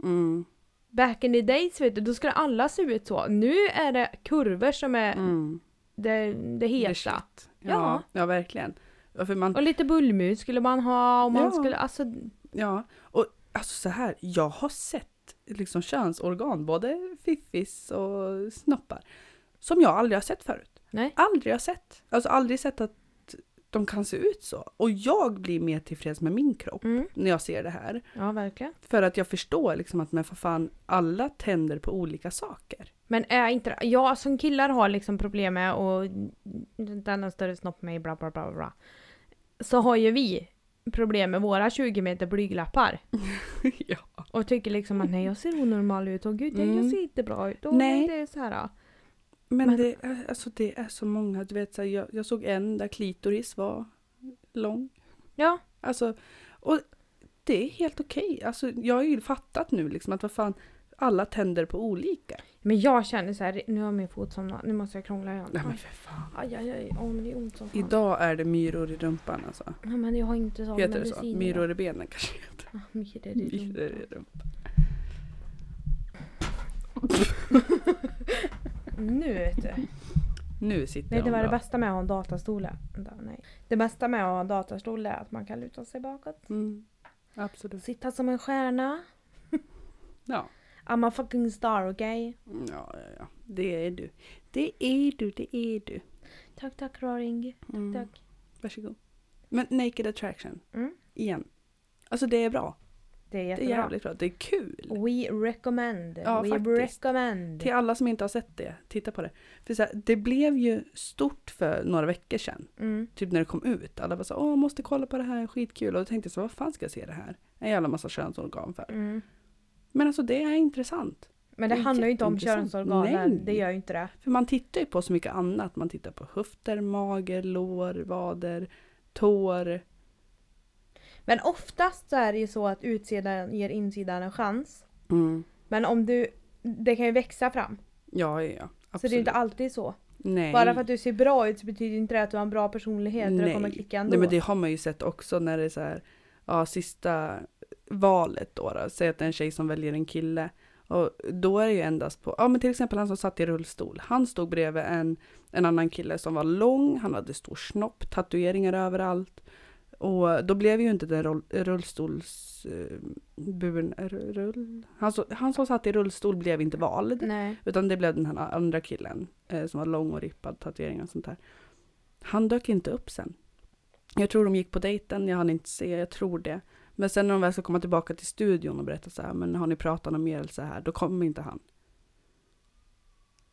Mm.
Back in the days vet du, då skulle alla se ut så. Nu är det kurvor som är
Mm.
det, det
Det är
heta.
shit.
Ja.
Ja, ja verkligen. Ja, för man,
och lite bullmus skulle man ha och man
Ja.
skulle, alltså
ja, och alltså så här, jag har sett liksom könsorgan, både fiffis och snoppar, som jag aldrig har sett förut.
Nej.
Aldrig har sett. Alltså aldrig sett att de kan se ut så. Och jag blir mer tillfreds med min kropp
mm.
när jag ser det här.
Ja verkligen.
För att jag förstår liksom att men för fan, alla tänder på olika saker.
Men är inte det- jag som killar har liksom problem med och den har större snopp med mig bla bla bla bla. Så har ju vi problem med våra 20 meter blyglappar.
(laughs) ja.
Och tycker liksom att nej jag ser onormal ut och gud jag-
Mm.
jag ser inte bra ut. Och
Nej.
Det är så här.
Men,
Men-
Det, är, alltså det är så många, du vet så här, jag, jag såg en där klitoris var lång.
Ja.
Alltså, och det är helt okej. Alltså jag har ju fattat nu liksom att vad fan, alla tänder på olika.
Men jag känner så här, nu har min fot somnat, nu måste jag krångla igen.
Nej men för fan.
Aj, aj, aj, åh men det är ont som fan.
Idag är det myror i rumpan alltså.
Ja, men jag har inte sån
Heter det så?
medicin
Myror i benen kanske heter.
idag. Ah, Myror i
Myror
rumpan.
i rumpan.
Nu vet du.
Nu sitter
Nej, det
hon
var det
bra.
bästa med att ha en datastol. är- Vänta, Nej. Det bästa med att ha en datastol är att man kan luta sig bakåt.
Mm, absolut.
Sitta som en stjärna.
Ja.
I'm a fucking star, okej?
Ja, ja, ja. Det är du. Det är du, det är du.
Tack, tack Raring.
Mm.
Tack.
Varsågod. Men Naked Attraction,
Mm.
igen. Alltså det är bra.
Det är
Det är
jättebra.
jävligt bra. Det är kul.
We recommend.
Ja,
We
faktiskt.
recommend.
Till alla som inte har sett det, titta på det. För så här, det blev ju stort för några veckor sedan.
Mm.
Typ när det kom ut. Alla bara så åh måste kolla på det här, skitkul. Och då tänkte jag så vad fan ska jag se det här? En jävla massa könsorgan för.
Mm.
Men alltså det är intressant.
Men det,
Det är
handlar ju inte om
jätteintressant. Nej.
könsorganen. Det gör ju inte det.
För man tittar ju på så mycket annat. Man tittar på höfter, mager, lår, vader, tår.
Men Mm. oftast så är det ju så att utsidan ger insidan en chans. Men om du det kan ju växa fram.
Ja, ja, ja. Absolut.
Så det är ju inte alltid så.
Nej.
Bara för att du ser bra ut så betyder inte det att du har en bra personlighet och det kommer klicka ändå.
Nej men det har man ju sett också när det är så här, ja sista valet då, då. säg att det är en tjej som väljer en kille och då är det ju endast på, ja men till exempel han som satt i rullstol, han stod bredvid en, en annan kille som var lång, han hade stor snopp, tatueringar överallt och då blev ju inte den roll, rullstolsburen, rull, han, som- han som satt i rullstol blev inte vald.
Nej.
Utan det blev den här andra killen eh, som var lång och rippad, tatueringar och sånt där. Han dök inte upp sen. Jag tror de gick på dejten, jag hann inte se, jag tror det. Men sen när de väl ska komma tillbaka till studion och berätta så här, men har ni pratat om mer eller så här, då kommer inte han.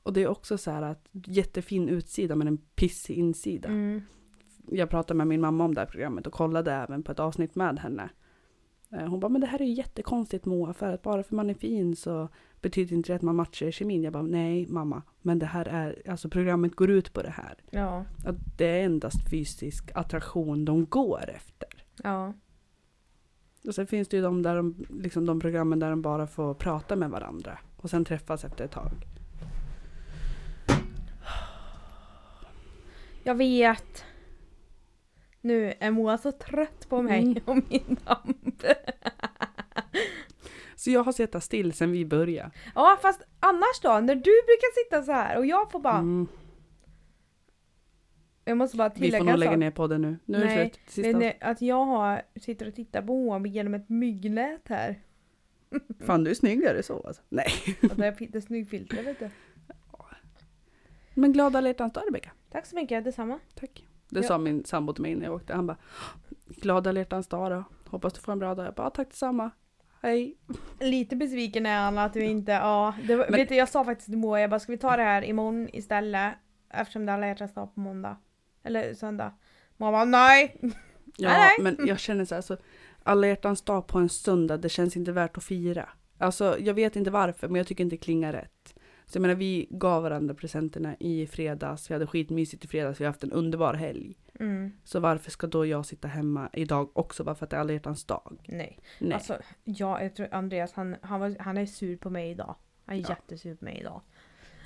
Och det är också så här att jättefin utsida men en pissig insida.
Mm.
Jag pratade med min mamma om det här programmet och kollade även på ett avsnitt med henne. Eh, Hon bara, men det här är ju jättekonstigt Moa, för att bara för man är fin så betyder inte det att man matchar i kemin. Jag bara, nej mamma, men det här är, alltså programmet går ut på det här.
Ja.
Att det är endast fysisk attraktion de går efter.
Ja.
Och sen finns det ju de, där de, liksom de programmen där de bara får prata med varandra och sen träffas efter ett tag.
Jag vet. Nu är Moa så trött på mig
Mm.
och min damp.
Så jag har suttit still sen vi började.
(laughs) Ja fast annars då, när du brukar sitta så här och jag får bara...
Mm.
Jag måste bara
Vi
tillägga
får
en
nog lägga
sak.
ner podden nu. Nu är det
Nej,
slut.
Det är
Sista
när- att jag har, sitter och tittar på H&M genom ett myggnät
(laughs)
här.
Fan du är snyggare så alltså. Nej.
Att jag har ett snygg filter vet du.
Men glada alla hjärtans dag Rebecka.
Tack så mycket, detsamma.
Tack. Det
Ja.
sa min sambo till mig innan jag åkte. Han bara glada alla hjärtans dag då. Hoppas du får en bra dag. Jag bara tack detsamma. Hej.
Lite besviken är han att du inte, ja. Det, var-
Men-
Vet du, jag sa faktiskt till Moa, jag bara ska vi ta det här imorgon istället? Eftersom det är alla hjärtans dag på måndag. Eller söndag. Moa bara nej!
Ja
Nej,
men jag känner så här så alla hjärtans dag på en söndag det känns inte värt att fira. Alltså jag vet inte varför men jag tycker inte det klingar rätt. Så jag menar vi gav varandra presenterna i fredags. Vi hade skitmysigt i fredags. Vi har haft en underbar helg.
Mm,
Så varför ska då jag sitta hemma idag också bara för att det är alla hjärtans dag?
nej.
Nej.
Alltså, ja, jag tror Andreas han, han, var, han är sur på mig idag. Han är
Ja.
jättesur på mig idag.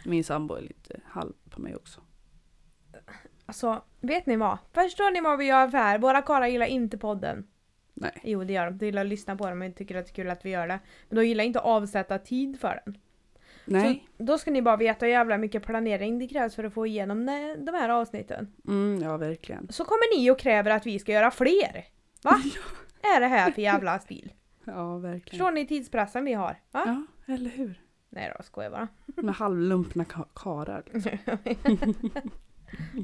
Min sambo är lite halv på mig också.
Alltså, vet ni vad? Förstår ni vad vi gör för här? Våra karlar gillar inte podden.
Nej.
Jo, det gör de. De gillar att lyssna på den men tycker att det är kul att vi gör det. Men de gillar inte att avsätta tid för den.
Nej.
Så, då ska ni bara veta hur jävla mycket planering det krävs för att få igenom ne- de här avsnitten.
Mm, ja verkligen.
Så kommer ni och kräver att vi ska göra fler!
(laughs)
Va? Är det här för jävla stil?
Ja verkligen.
Förstår ni tidspressen vi har? Va?
Ja, eller hur?
Nej då, skojar
(laughs)
bara.
Med halvlumpna ka- karar.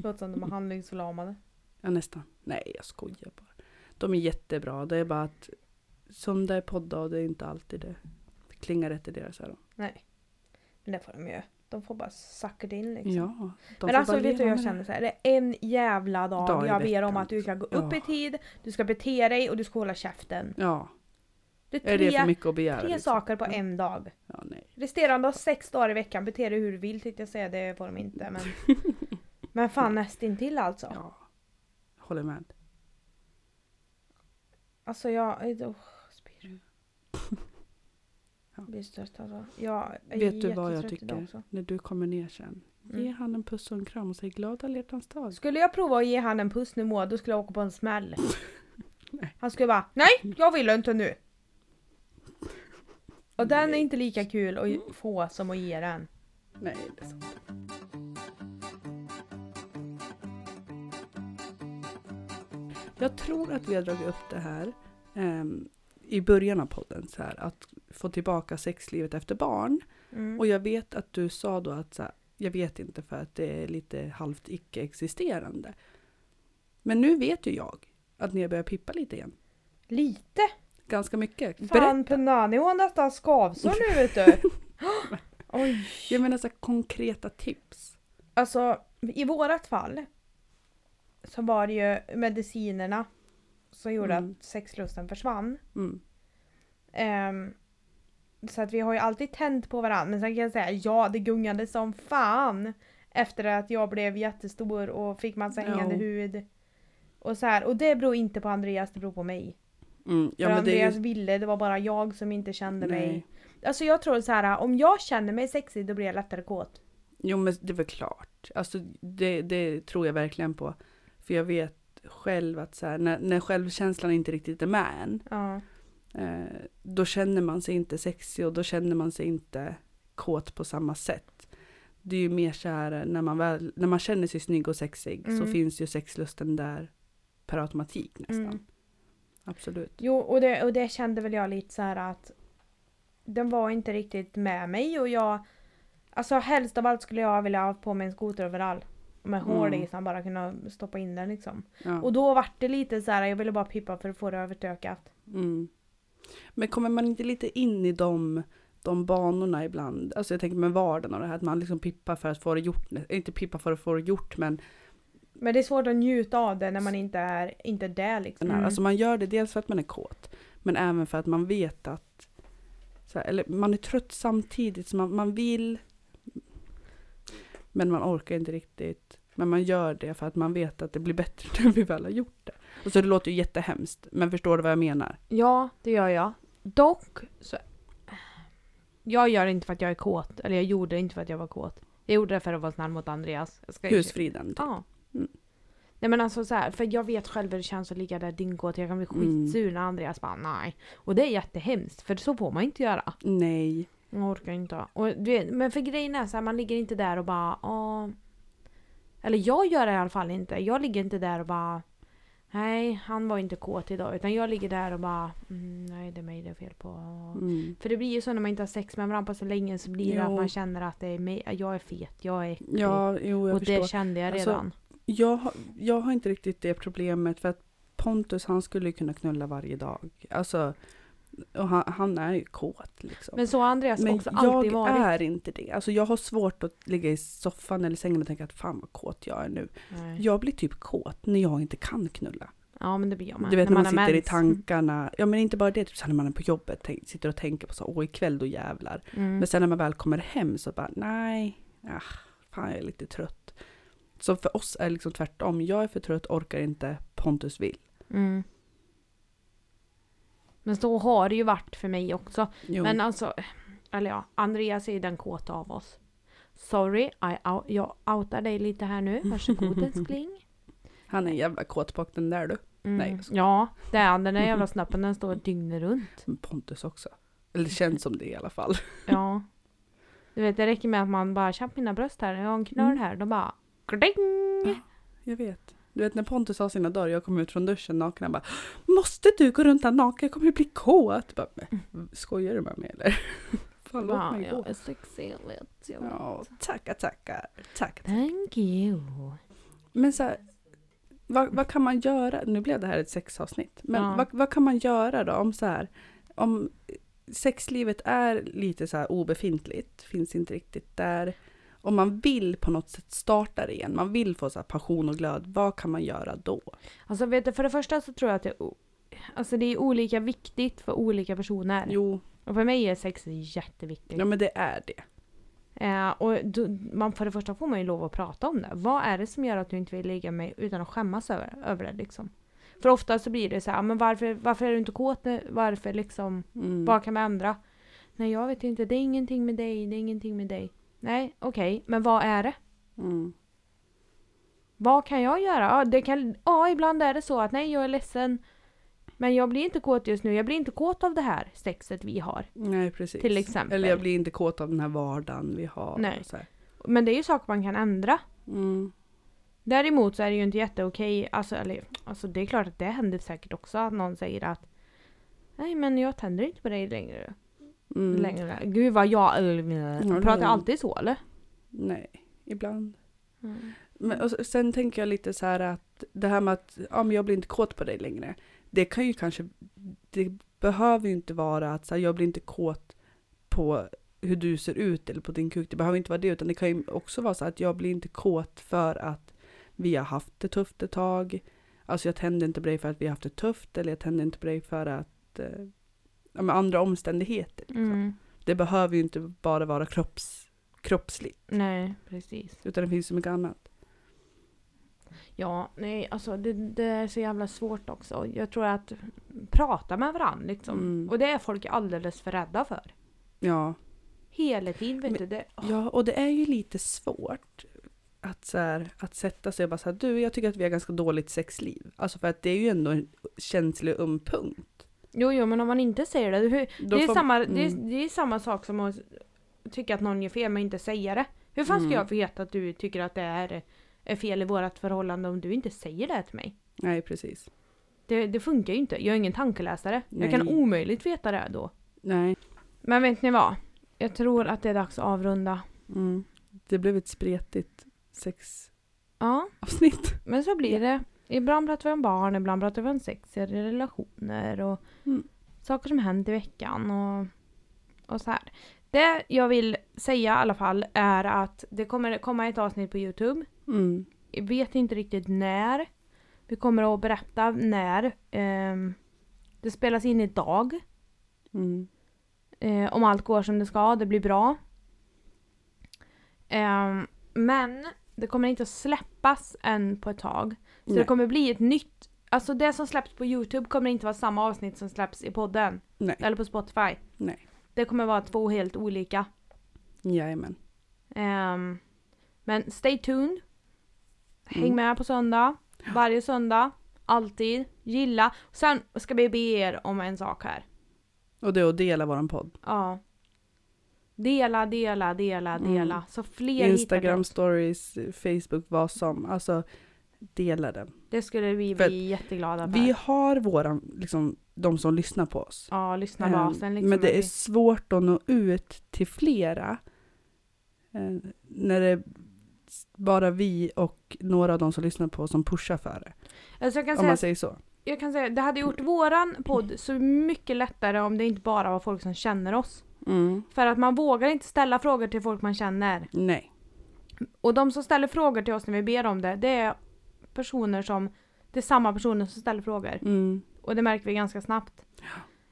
Låter som de är handlingsförlamade.
Ja, nästan. Nej, jag skojar bara. De är jättebra. Det är bara att söndag är podda och det är inte alltid det. Det klingar rätt i deras öron.
Men det får de ju. De får bara sucka det in liksom.
Ja. De
Men
får
alltså
bara
vet du
leva
jag
med
känner så här, det är en jävla dag,
Dag i
jag ber om
veckan, liksom.
att du ska gå upp
Ja.
i tid, du ska bete dig och du ska hålla käften.
det. Ja.
Det är
Är det för
tre,
mycket att begära?
tre
liksom?
saker på en dag.
Ja, nej.
Resterande av sex dagar i veckan, bete dig hur du vill tänkte jag säga, det får de inte men...
(laughs)
men fan nästintill alltså.
Ja. Håller med.
Alltså jag... Oh, spyr.
Ja.
Jag blir stört alltså. Jag är
Vet du vad jag
jättetrött idag
tycker?
också.
När du kommer ner sen. Ge
Mm.
han en puss och en kram och säg glad alla hjärtans dag.
Skulle jag prova att ge han en puss nu Moa, då skulle jag åka på en smäll.
(laughs) Nej.
Han skulle bara NEJ! Jag vill inte nu! Och den är inte lika kul att få som att ge den.
Nej, det är sant. Jag tror att vi har dragit upp det här ehm, i början av podden, så här, att få tillbaka sexlivet efter barn.
Mm.
Och jag vet att du sa då att så här, jag vet inte för att det är lite halvt icke-existerande. Men nu vet ju jag att ni har börjat pippa lite igen.
Lite!
Ganska mycket. Berätta.
Fan Punani hon har nästan skavsår nu vet
(laughs)
du! Oj!
Jag menar så här, konkreta tips.
Alltså i vårat fall så var det ju medicinerna som gjorde
Mm.
att sexlusten försvann.
Mm.
Ehm, så att vi har ju alltid tänt på varandra. Men sen kan jag säga ja, det gungade som fan. Efter att jag blev jättestor och fick massa
Ja.
hängande hud. Och så här. Och det beror inte på Andreas, det beror på mig.
Mm. Ja,
För
men det är
Andreas
ju...
ville, det var bara jag som inte kände mig.
Nej.
Alltså jag tror så här, om jag känner mig sexig då blir jag lättare kåt.
Jo, men det är väl klart. Alltså, det, det tror jag verkligen på. För jag vet själv att så här, när, när självkänslan inte riktigt är med en,
Ja.
eh, då känner man sig inte sexig och då känner man sig inte kåt på samma sätt. Det är ju mer så här eh, när man, väl, när man känner sig snygg och sexig så
Mm.
finns ju sexlusten där per automatik nästan.
Mm.
Absolut.
Jo, och det, och det kände väl jag lite så här att den var inte riktigt med mig och jag... Alltså helst av allt skulle jag vilja ha på mig en skoteroverall. Med hål i
Mm.
så man bara kunna stoppa in den liksom.
Ja.
Och då vart det lite så här, jag ville bara pippa för att få det övertökat.
Mm. Men kommer man inte lite in i de, de banorna ibland? Alltså jag tänker med vardagen och det här att man liksom pippar för att få det gjort. Inte pippar för att få det gjort men
Men det är svårt att njuta av det när man inte är, inte är där liksom.
den här. Alltså man gör det dels för att man är kåt, men även för att man vet att så här, eller man är trött samtidigt, så man, man vill men man orkar inte riktigt. Men man gör det för att man vet att det blir bättre (laughs) när vi väl har gjort det. Och så det låter ju jättehemskt, men förstår du vad jag menar?
Ja, det gör jag. Dock så... Jag gör det inte för att jag är kåt. Eller jag gjorde det inte för att jag var kåt. Jag gjorde det för att vara snäll mot Andreas. Jag ska
Husfriden. typ.
Ja.
Mm.
Nej men alltså så här, för jag vet själv hur det känns att ligga där dyngkåt. Jag kan bli
Mm.
skitsur när Andreas bara nej. Och det är jättehemskt för så får man inte göra.
Nej.
Jag orkar inte. Och du vet, men för grejen är så här, man ligger inte där och bara åh. Eller jag gör det i alla fall inte. Jag ligger inte där och bara nej han var inte kåt idag. Utan jag ligger där och bara mm, nej det är mig det är fel på.
Mm.
För det blir ju så när man inte har sex med varandra på så länge så blir det
Jo.
att man känner att det är mig, jag är fet, jag är äcklig.
Ja, jo, jag
Mm. och
förstår.
det kände jag
Alltså,
redan.
Jag, har- jag har inte riktigt det problemet för att Pontus han skulle ju kunna knulla varje dag. Alltså, och han, han är ju kåt liksom.
Men så har Andreas
Men
också alltid
jag
varit.
är inte det. Alltså jag har svårt att ligga i soffan eller sängen och tänka att fan vad kåt jag är nu.
Nej.
Jag blir typ kåt när jag inte kan knulla.
Ja men det blir jag med.
Du vet när man,
har
sitter i
mens. Mm.
tankarna. Ja men inte bara det, typ så här när man är på jobbet tänk, sitter och tänker på så åh ikväll då jävlar.
Mm.
Men sen när man väl kommer hem så bara nej, ah, fan jag är lite trött. Så för oss är det liksom tvärtom. Jag är för trött, orkar inte, Pontus vill.
Mm. Men så har det ju varit för mig också.
Jo.
Men alltså, eller ja, Andreas är ju den kåta av oss. Sorry, I out, jag outar dig lite här nu.
(laughs)
Varsågod älskling.
Han är en jävla kåtbock den där du.
Mm.
Nej, jag skojar.
ja, det är han. Den där jävla snappen den står dygnet runt.
Men Pontus också. Eller det känns som det i alla fall. (laughs)
Ja. Du vet det räcker med att man bara tjapp mina bröst här, jag har en knöl
Mm.
här. Då bara kling!
Jag vet. Du vet när Pontus har sina dagar, jag kom ut från duschen naken, han bara Måste du gå runt här naken? Jag kommer ju bli kåt. Jag Bara, "Men, Skojar du med mig eller? (laughs) Fan låt
Bara,
mig gå.
jag är sexig, jag vet. Jag vet.
Ja, tackar, tackar. Tack.
Thank you.
Men så här, vad, vad kan man göra? Nu blev det här ett sexavsnitt. Men
Ja.
vad, vad kan man göra då om så här, om sexlivet är lite så här obefintligt, finns inte riktigt där. Om man vill på något sätt starta det igen, man vill få så här passion och glöd, vad kan man göra då?
Alltså vet du, för det första så tror jag att det, är o- alltså det är olika viktigt för olika personer.
Jo,
Och för mig är sex jätteviktigt.
ja men det är det.
Eh, och då, man, för det första får man ju lov att prata om det. Vad är det som gör att du inte vill ligga med mig utan att skämmas över, över det liksom? För ofta så blir det så här, "Ah, men varför, varför är du inte kåt? nu? Varför liksom,
Mm.
vad kan vi ändra? Nej jag vet inte, det är ingenting med dig, det är ingenting med dig. Nej, okej, men vad är det?
Mm.
Vad kan jag göra? Ja, det kan, ja, ibland är det så att nej, jag är ledsen. Men jag blir inte kåt just nu. Jag blir inte kåt av det här sexet vi har.
Nej precis.
Till exempel.
Eller jag blir inte kåt av den här vardagen vi har.
Nej.
och Så här.
Men det är ju saker man kan ändra.
Mm.
Däremot så är det ju inte jätteokej. Alltså, eller, alltså det är klart att det händer säkert också att någon säger att Nej men jag tänder inte på dig längre.
Mm.
längre. Gud vad jag... Pratar jag alltid så eller?
Nej, ibland. Mm. Men, och sen tänker jag lite så här att det här med att ja, men jag blir inte kåt på dig längre. Det kan ju kanske, det behöver ju inte vara att så här, jag blir inte kåt på hur du ser ut eller på din kuk. Det behöver inte vara det utan det kan ju också vara så att jag blir inte kåt för att vi har haft det tufft ett tag. Alltså jag tänder inte på dig för att vi har haft det tufft eller jag tänder inte på dig för att eh, ja, men andra omständigheter. Liksom.
Mm.
Det behöver ju inte bara vara kropps, kroppsligt
Nej precis.
utan det finns så mycket annat.
Ja, nej alltså det, det är så jävla svårt också. Jag tror att prata med varandra liksom.
Mm.
Och det är folk alldeles för rädda för.
Ja.
Hela tiden vet
Men-
du. Det,
ja, och det är ju lite svårt att, så här, att sätta sig och bara så här, du jag tycker att vi har ganska dåligt sexliv. Alltså för att det är ju ändå en känslig öm punkt.
Jo, jo, men om man inte säger det. Hur,
Då
det, är
får-
samma, det, är,
mm.
det är samma sak som att tycka att någon gör fel men inte säga det. Hur fan ska
Mm.
jag veta att du tycker att det är, är fel i vårt förhållande om du inte säger det till mig?
Nej, precis.
Det, det funkar ju inte. Jag är ingen tankeläsare. Jag kan
Nej.
omöjligt veta det då.
Nej.
Men vet ni vad? Jag tror att det är dags att avrunda.
Mm. Det blev ett spretigt sexavsnitt.
Ja, men så blir det. Ibland pratar vi om barn, ibland pratar vi om sex i relationer och
Mm.
saker som hänt i veckan och, och så här. Det jag vill säga i alla fall är att det kommer komma ett avsnitt på Youtube.
Mm.
Jag vet inte riktigt när. Vi kommer att berätta när. Ehm, det spelas in idag.
Mm.
Eh, om allt går som det ska, det blir bra. Ehm, men det kommer inte att släppas än på ett tag. Så det
Nej.
kommer bli ett nytt... Alltså det som släpps på Youtube kommer inte vara samma avsnitt som släpps i podden.
Nej.
Eller på Spotify.
Nej.
Det kommer vara två helt olika.
Jajamän.
Ehm, men stay tuned. Häng
Mm.
med på söndag. Varje söndag. Alltid. Gilla. Sen ska vi be er om en sak här.
Och det är att dela våran podd.
Ja. Dela, dela, dela,
Mm.
dela. Så fler hittar
Instagram
det.
stories, Facebook, vad som. Alltså, dela den.
Det skulle vi
För
bli jätteglada för.
Vi har våran, liksom, de som lyssnar på oss.
Ja, lyssna basen
Ehm,
liksom.
Men det är
Vi-
svårt att nå ut till flera. eh, När det är bara vi och några av de som lyssnar på oss som pushar för det.
alltså jag, kan
Om
säga,
man säger så.
jag kan säga, det hade gjort våran
(clears throat)
podd så mycket lättare om det inte bara var folk som känner oss.
Mm.
För att man vågar inte ställa frågor till folk man känner.
Nej.
Och de som ställer frågor till oss när vi ber om det, det är personer som, det är samma personer som ställer frågor.
Mm.
Och det märker vi ganska snabbt.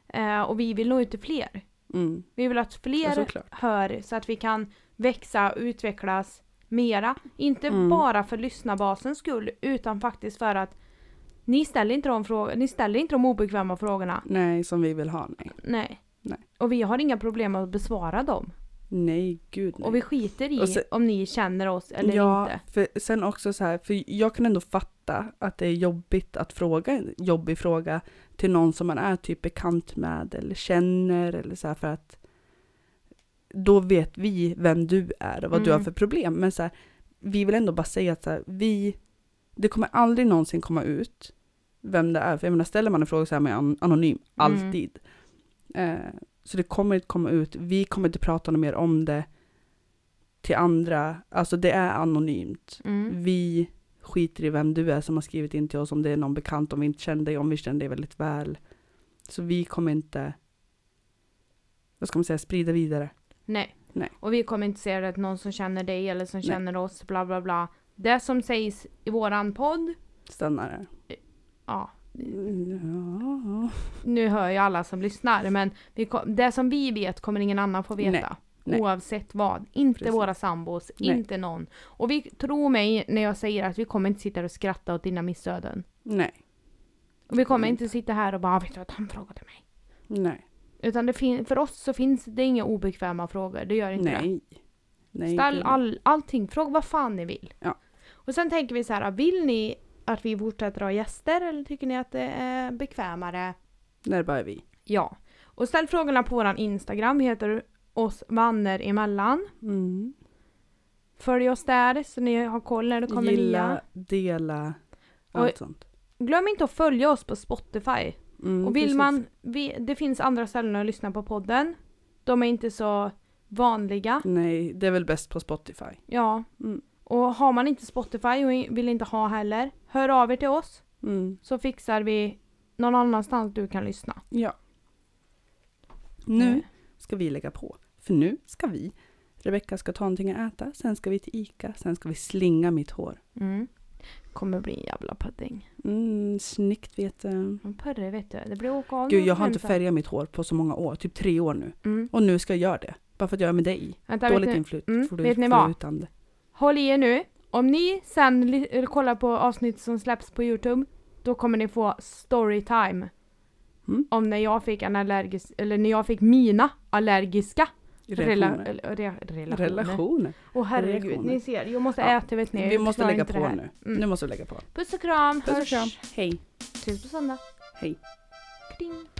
Eh, och vi vill nå ut till fler.
Mm.
Vi vill att
Ja,
fler
såklart.
hör så att vi kan växa och utvecklas mera. Inte
Mm.
bara för lyssnarbasens skull utan faktiskt för att ni ställer inte de, frågor, ni ställer inte de obekväma frågorna.
Nej, som vi vill ha. Nej.
Nej.
Nej.
Och vi har inga problem att besvara dem.
Nej, gud nej.
Och vi skiter i
Och se-
om ni känner oss eller
ja,
inte.
För sen också så här, för jag kan ändå fatta att det är jobbigt att fråga en jobbig fråga till någon som man är typ bekant med eller känner eller så här för att då vet vi vem du är och vad du
Mm.
har för problem. Men så här, vi vill ändå bara säga att så här, vi, det kommer aldrig någonsin komma ut vem det är. För jag menar, ställer man en fråga så är man ju an- anonym,
Mm.
alltid. Eh, så det kommer inte komma ut, vi kommer inte prata något mer om det till andra, alltså det är anonymt.
Mm.
Vi skiter i vem du är som har skrivit in till oss, om det är någon bekant, om vi inte känner dig, om vi känner dig väldigt väl. Så vi kommer inte, vad ska man säga, sprida vidare.
Nej.
Nej.
Och vi kommer inte säga det till någon som känner dig eller som
Nej.
känner oss, bla bla bla. Det som sägs i våran podd,
Stannar där.
ja, Mm.
Ja.
nu hör ju alla som lyssnar, men vi kom, det som vi vet kommer ingen annan få veta.
Nej, nej.
Oavsett vad. Inte
Precis.
våra sambos,
Nej.
inte någon. Och vi, tro mig när jag säger att vi kommer inte sitta och skratta åt dina missöden.
Nej,
Och vi kommer
kommer
inte sitta här och bara "Ah, vet du att han frågade mig.
nej,
Utan det fin- för oss så finns det inga obekväma frågor, det gör inte det.
nej. nej.
Ställ
gud,
all, allting, fråga vad fan ni vill.
Ja.
Och sen tänker vi så här, vill ni att vi fortsätter ha gäster eller tycker ni att det är bekvämare
När det bara är vi.
Ja. Och ställ frågorna på våran Instagram. Vi heter oss vanner emellan.
Mm.
Följ oss där så ni har koll när det kommer nya.
Gilla, dela, allt sånt.
Glöm inte att följa oss på Spotify.
Mm,
och vill
precis.
man, vi, det finns andra ställen att lyssna på podden. De är inte så vanliga.
Nej, det är väl bäst på Spotify.
Ja.
Mm.
Och har man inte Spotify och i- vill inte ha heller, hör av er till oss
Mm.
så fixar vi någon annanstans du kan lyssna.
Ja. Nu
Mm.
ska vi lägga på. För nu ska vi. Rebecka ska ta någonting att äta, sen ska vi till Ica, sen ska vi slinga mitt hår.
Mm. Kommer bli en jävla pudding.
Mm, snyggt vet du.
En Purre vet du, det blir åka av
Gud,
någon
jag har inte
hemsa.
färgat mitt hår på så många år, typ tre år nu.
Mm.
Och nu ska jag göra det. Bara för att jag är med dig.
Vänta, vet
Dåligt
ni,
inflyt-
mm,
flu-
vet ni vad?
flutande.
håll i er nu. Om ni sen li- eller kollar på avsnitt som släpps på Youtube, då kommer ni få storytime
Mm.
om när jag fick en allergisk, eller när jag fick mina allergiska rela-
Relationer.
eller- re- relationer.
Relationer.
Åh herregud,
Reaktioner.
ni ser, jag måste
Ja.
äta vet ni.
Vi
jag
måste
klarar
lägga
inte det
på
här.
nu.
Mm.
Nu måste vi lägga på.
Puss och kram,
Puss och
hörs.
kram. Hej.
Ses på söndag.
Hej.
Kling.